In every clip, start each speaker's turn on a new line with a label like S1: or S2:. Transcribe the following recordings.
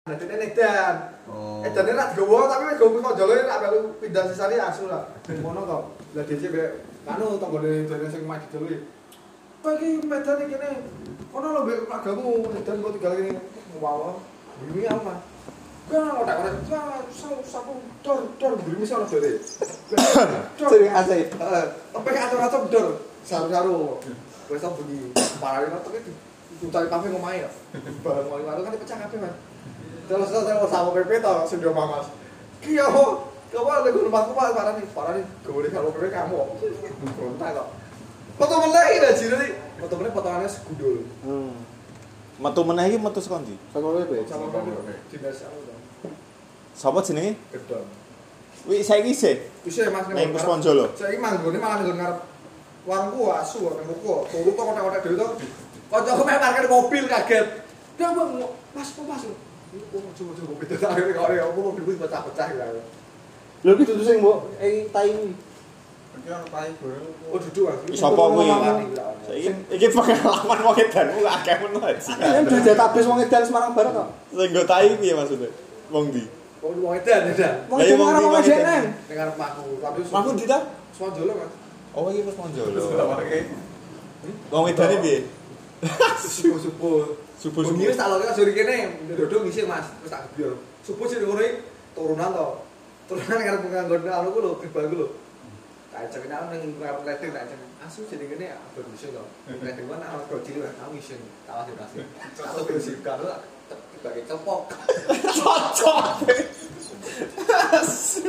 S1: Dadi nek dan.
S2: Oh.
S1: Eh dadi rak digowo tapi wis gowo kok jolo rak baru pindah sisane asu lah. Ngono to. Lah dhewe be kanu tanggone dhewe sing maju dulu. Kok iki medane kene. Ono lho be ragamu dan kok tinggal kene. Wow. Ini apa? Kau nggak tak kau tak sapu sapu dor dor beli misalnya dor dor
S3: Sering asik.
S1: tapi atur atur dor saru saru gue tau bunyi parah ini tapi cari kafe ngomai ya barang ngomai baru kan dipecah kafe mas terus terus terus sama PP tau sudah mamas kia ho kau apa lagi rumah aku mas parah nih parah nih gue boleh kalau PP kamu kontak kok potongan lagi lah jadi potongannya potongannya segudul
S3: Hmm. Metu meneh iki metu saka ndi?
S4: Saka kowe
S1: sama PP dinas aku tau
S3: Sapa jenenge?
S1: gedong
S3: Wi saiki sih.
S1: Bisa ya mas
S3: Ning Pusponjolo.
S1: Saya ini manggung ini malah nggon ngarep warungku asu nang buku. Turu kok kotak-kotak dhewe to. Kancaku mek parkir mobil kaget. Dia mau ngo- Mas, kok Mas. Oh, coba-coba mobil tak akhirnya kok ya aku mobil gue pecah-pecah lah.
S4: Lho iki dudu sing mbok eh tai kuwi.
S2: Iki ono paling buru.
S1: Oh, duduk aku.
S3: Wis apa kuwi?
S1: Saiki
S3: Saiki iki pengalaman wong edan ku akeh men Haji.
S4: Ini dudu database wong edan Semarang Barat kok.
S3: Sing nggo tai piye maksudnya? Wong ndi?
S1: Oh, mau edan, edan.
S4: Wong
S3: Lah, iya,
S4: edan
S3: wong
S4: karo
S3: ndi,
S4: wong
S3: wong
S4: edan.
S3: edan.
S4: neng.
S1: Ning ngarep aku. Tapi
S3: Mahfud ndi ta?
S1: Swandolo, Mas.
S3: Oh iki Pusponjolo.
S2: Oke.
S3: Wong edane piye?
S1: Subuh-subuh.
S3: Subuh
S1: Bunyi wis tak lokek sore kene, dodok ngisi Mas, wis tak gebyur. Subuh sing ngono iki turunan to. Turunan karep nganggon anu ku lho, gerbang ku lho. Tak ajak nek ning karep ledeng tak ajak. Asu jeneng kene abot ngisi to. Ledeng kan ana gojil lah, tau ngisi. Tak wasi nasi. Satu ngisi karo tak dibagi cepok.
S3: Cocok.
S1: Asu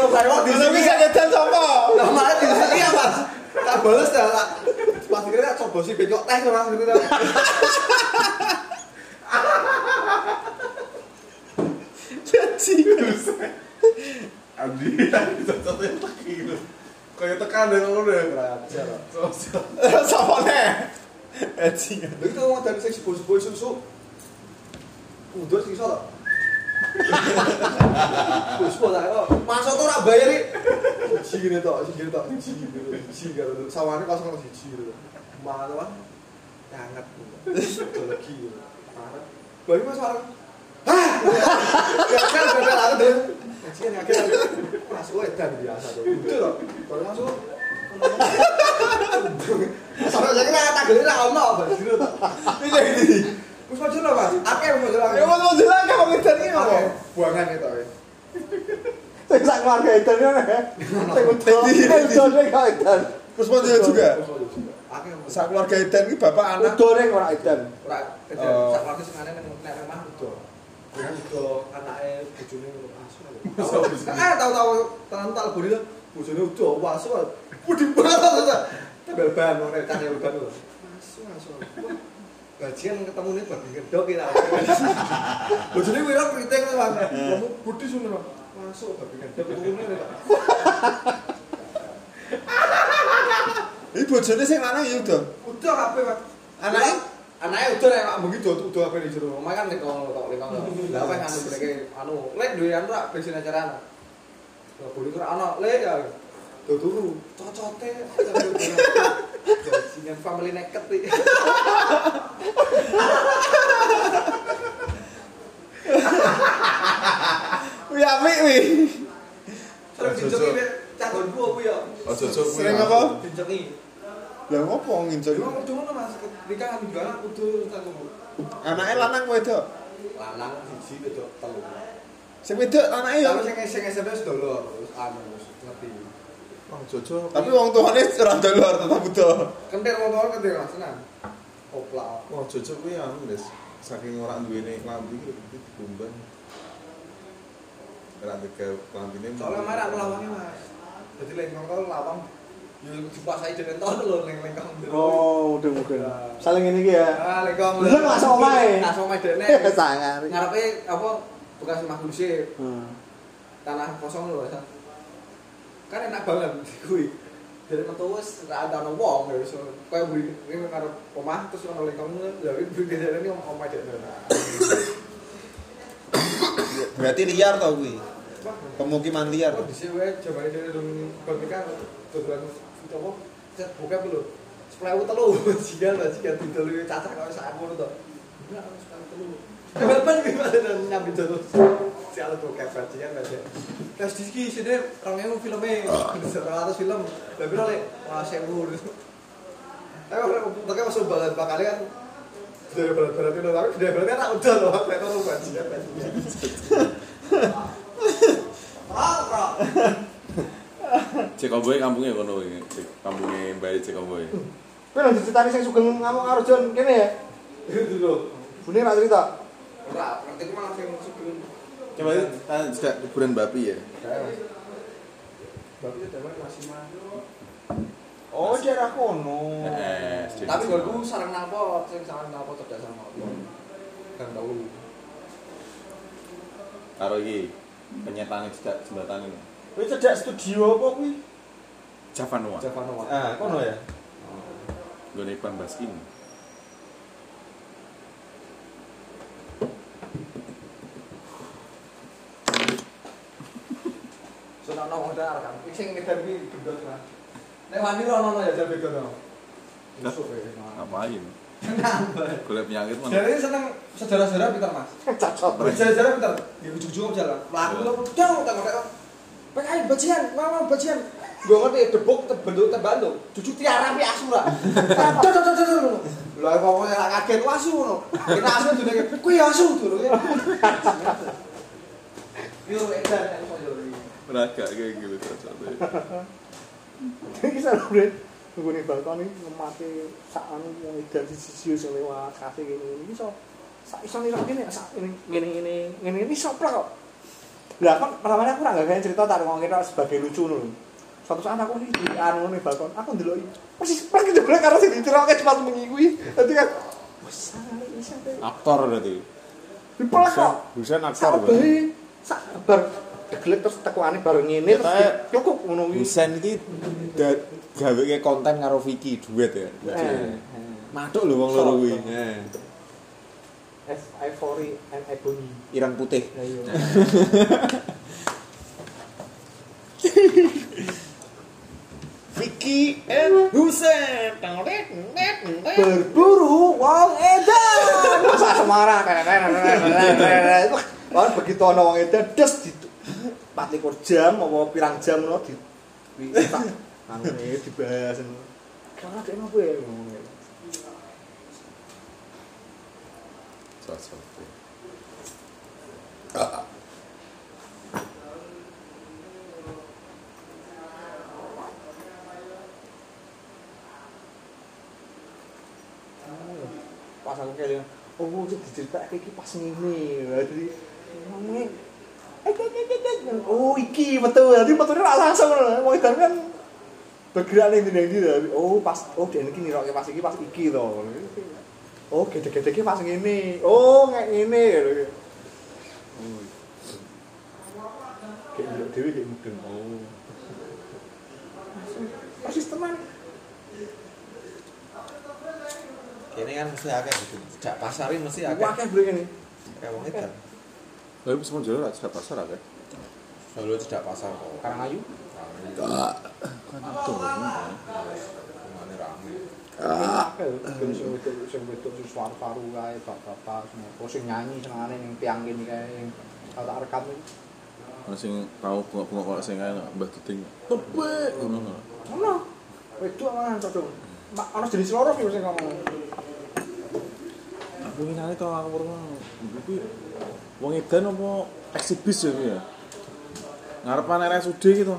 S1: lho karo di
S3: Dulu
S1: sini.
S3: bisa edan sapa?
S1: Lah malah di sini ya Mas. Tak bales dah tak. Pas kira tak coba sih benyok teh Mas gitu.
S3: Jadi.
S2: Abdi. Cocoknya tak gitu. Kayak tekanan ngono deh.
S1: Raja lho.
S2: Sosial.
S3: Sapa ne? Haji.
S1: Lha itu wong dari sing sepuh-sepuh susu. Udah sing iso to. Susu ta kok. Masuk tuh ora bayar iki. Siji ngene to, siji ngene to, siji ngene to, siji karo to. Sawane kosong karo siji ngene to. Mangan to, Mas. Hangat. Udah lagi. Parah. Bayi Mas warung. Hah. Ya kan bebel aku dulu. Siji ngene akhir. Mas kowe edan biasa to. Udah to. Kalau masuk Sampai saya kira kata gede lah, ono, Mbak Jiro.
S3: Piye iki?
S1: Wis maju lho, Mas. Akeh wong maju
S3: Ya
S1: lho.
S3: Pusponjolo akeh wong edan iki apa?
S1: Akeh buangan itu. ya.
S4: Sing sak keluarga edan ya. Sing udan. Udane kok edan.
S3: Pusponjolo juga.
S1: Wis maju juga. Akeh wong.
S3: Sak keluarga edan iki bapak anak.
S4: Udane ora edan.
S1: Ora kerja
S3: Oh.
S1: sak waktu sing aneh nang nek rumah udo. Bukan udo anake bojone lho, asu. Ah, tahu-tahu tenan tak lebur itu bojone udo asu. Budi banget. Tebel ban ora tane ban lho. Asu asu. Wah, Gajian ketemu nih babi gedok kita. Bojone wira keriting lho, Mas. Kamu budi suno. Masuk babi gedok turune lho.
S3: Iki bojone sing lanang ya udah.
S1: Udo kabeh, Mas.
S3: Anake?
S1: anaknya udah nek mak bengi dot udah apa di jero omah kan nek ngono tok nek ngono lha apa anu mereka anu lek duwe anu rak bensin acara anu lha boleh ora ana lek ya do turu cocote dengan family neket iki
S3: Wi apik wi.
S1: terus dijoki Bek. cagon gua aku ya
S2: Ojo ojo kuwi.
S3: Sering apa?
S1: dijoki
S3: Lah ngopo ngincur?
S1: cuma kudu ngono Mas ketika ngambil barang kudu cagon
S3: Anake lanang wedok.
S1: lanang siji wedok telu
S3: Sing wedok anake ya.
S1: tapi sing sing SMP wis dolor wis anu wis ngerti
S2: Bang Oh, Jojo.
S3: Tapi wong tuane ora dolor tetep buta.
S1: kentir wong tuwa kentir Mas tenang opla
S2: Wong Oh, Jojo kuwi anu Des. Saking ora duwene klambi iki iki dikumbang. Ora tega klambine.
S1: soalnya marah aku lawangnya mas jadi lengkong kau lawang ya dikuasai dengan tahun lho leng lengkong
S4: Oh, udeng-udeng. Saling ngene iki ya.
S1: ah lengkong
S4: Lu kan langsung omahe.
S1: langsung omahe dene
S4: Sangar.
S1: ngarepe apa bekas rumah gusip
S4: Hmm.
S1: tanah kosong lho Mas. kan enak banget kuwi dari metu wis ra ada ono wong ya so koyo beli ini ngarep omah terus ono lengkong lha iki beli dene ini om- omahe dene
S3: Berarti liar to kuwi.
S1: Wah,
S3: Pemukiman liar.
S1: Aku di sini wae coba aja dong pernikahan tujuan itu apa? Cet buka dulu. Sepuluh telu jikan lah jikan di dulu caca kau saya pun tuh. Enggak, harus kali telu. Kapan gimana nyambi terus? Si Alan tuh kayak percikan aja. Terus di sini sini orangnya filmnya seratus film, tapi oleh wah sewu. Tapi orang pakai masuk balat bakalnya kan dari balat-balat itu tapi dari balatnya tak udah loh, kayak orang percikan percikan. Parah.
S3: Cek Omboy kampungnya kono iki. Cek kampungnya Mbak Cek Omboy.
S4: Kowe lho dicritani sing sugeng ngamuk karo Jon kene ya.
S1: Itu loh.
S4: Bune ra cerita.
S1: Ora, nanti aku malah yang sebelum.
S2: Coba itu kan juga kuburan babi ya.
S1: Tapi itu damai masih mah.
S4: Oh, daerah kono.
S3: Heeh, sedikit.
S1: Eh, Tapi golku sarang napa, sing sarang napa cerdas sama apa. Kan tahu.
S3: Karo iki penyetane cedak jembatan ini.
S4: Kowe cedak studio apa kuwi?
S3: Javanua.
S1: Javanoa.
S4: Ah, kono ya.
S3: Gone Ipan Baskin.
S1: Sudah nongol dah kan. Sing ngedar iki gendot mah. Nek wani ora ono ya jabe gono. Busuk ya.
S3: Ngapain? Golek penyakit mana?
S1: Jadi seneng sejarah-sejarah pinter Mas.
S4: Cacot.
S1: Sejarah-sejarah pinter. Ya ujug-ujug jalan. Laku lho dong tak kok. PKI bajian, mama bajian. Gue ngerti debuk tebentuk tebantu. Cucu tiara pi asura. Dor dor dor dor. Lah pokoknya lak kaget ku asu ngono. Kita asu dunia kuwi asu durunge. Yo edan kan koyo iki.
S3: Raga kayak gitu satu.
S4: Iki salah bre. Nggone balkon iki ngemate sak anu wong edan siji sing lewat kafe ngene ngene iki iso sak iso nira kene sak ngene ngene ngene ngene ngene iso plek kok. Lah kan pertama aku ora gak cerita tak ngomongin tok sebagai lucu ngono. lho. Suatu saat aku nih di anu ngene balkon, aku ndelok iki. Persis plek jeblek karo sing ditirokke cepat bengi kuwi. Dadi kan wes salah iki sampe
S2: Aktor berarti.
S4: dipelek kok.
S2: Husen
S4: Sak behi, sak bar deglek terus tekuane bareng ngene terus
S2: Ketoknya-
S4: diplukuk ngono kuwi.
S2: Husen iki da- gawe ke konten karo Vicky duet ya.
S4: Eh, eh.
S2: Matuk lho wong loro kuwi. eh.
S4: Soto.
S2: Heeh.
S4: F- Ivory Eh, and Ebony.
S2: Ireng putih.
S4: Vicky and Husen berburu wong edan. Masa Semarang. Wah begitu ana wong edan des di 24 jam apa pirang jam ngono di di- tak anune dibahas. Karena dhek ngono kuwi ngomongnya.
S3: Sosok.
S4: pas aku kayak oh itu diceritake iki pas ngene Nah, jadi ngomongnya eh, eh, eh, eh, eh. oh iki betul jadi betulnya ora langsung ngono wong edan kan bergerak ning ndi ndi oh pas oh dia iki nirokke pas iki pas iki to oh gede-gede iki pas ngene oh ngek ngene gitu. Oh. kayak ndelok dhewe kayak mudeng oh persis teman
S2: Kene kan mesti akeh gitu. Dak pasarin mesti
S4: wakil beli ini
S2: Kayak wong edan.
S3: Tapi semua jalan cedak pasar apa?
S2: Solo tidak pasar kok.
S4: Karangayu
S2: Ngene rame.
S1: Eh.
S4: Terus sing wedok sing wedok sing suar-suaru kae bapak-bapak semua. Oh sing nyanyi senengane ning tiang kene kae. Kalau tak rekam iki.
S3: Ono sing tau bengok-bengok kok sing ana Mbah Duting. Tepek ngono.
S4: Ngono. Wedok mangan to, Dong. Mak ana jenis loro ki sing ngomong.
S3: Aku winane tau aku pernah. Iku wong edan apa eksibis ya kuwi ya. Ngarepan RSUD gitu.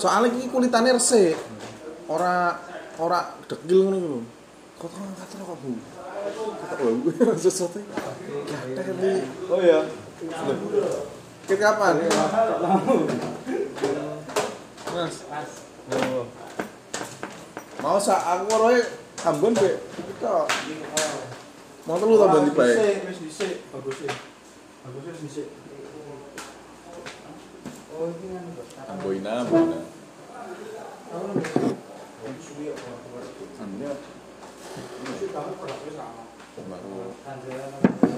S3: Soalnya iki kulitane resik. Ora ora dekil ngono kuwi lho. Kok kok kata kok Bu. Kata lho sesuatu. Gatel iki.
S4: Oh iya.
S2: Kit kapan?
S3: Mas,
S2: Mau sak aku roe ambon be. Iki tok.
S3: mau telu ta bali bae.
S1: Wis dhisik, bagus sih. Bagus wis dhisik. Oh, ini kan
S3: Amboina, Amboina. Anda baru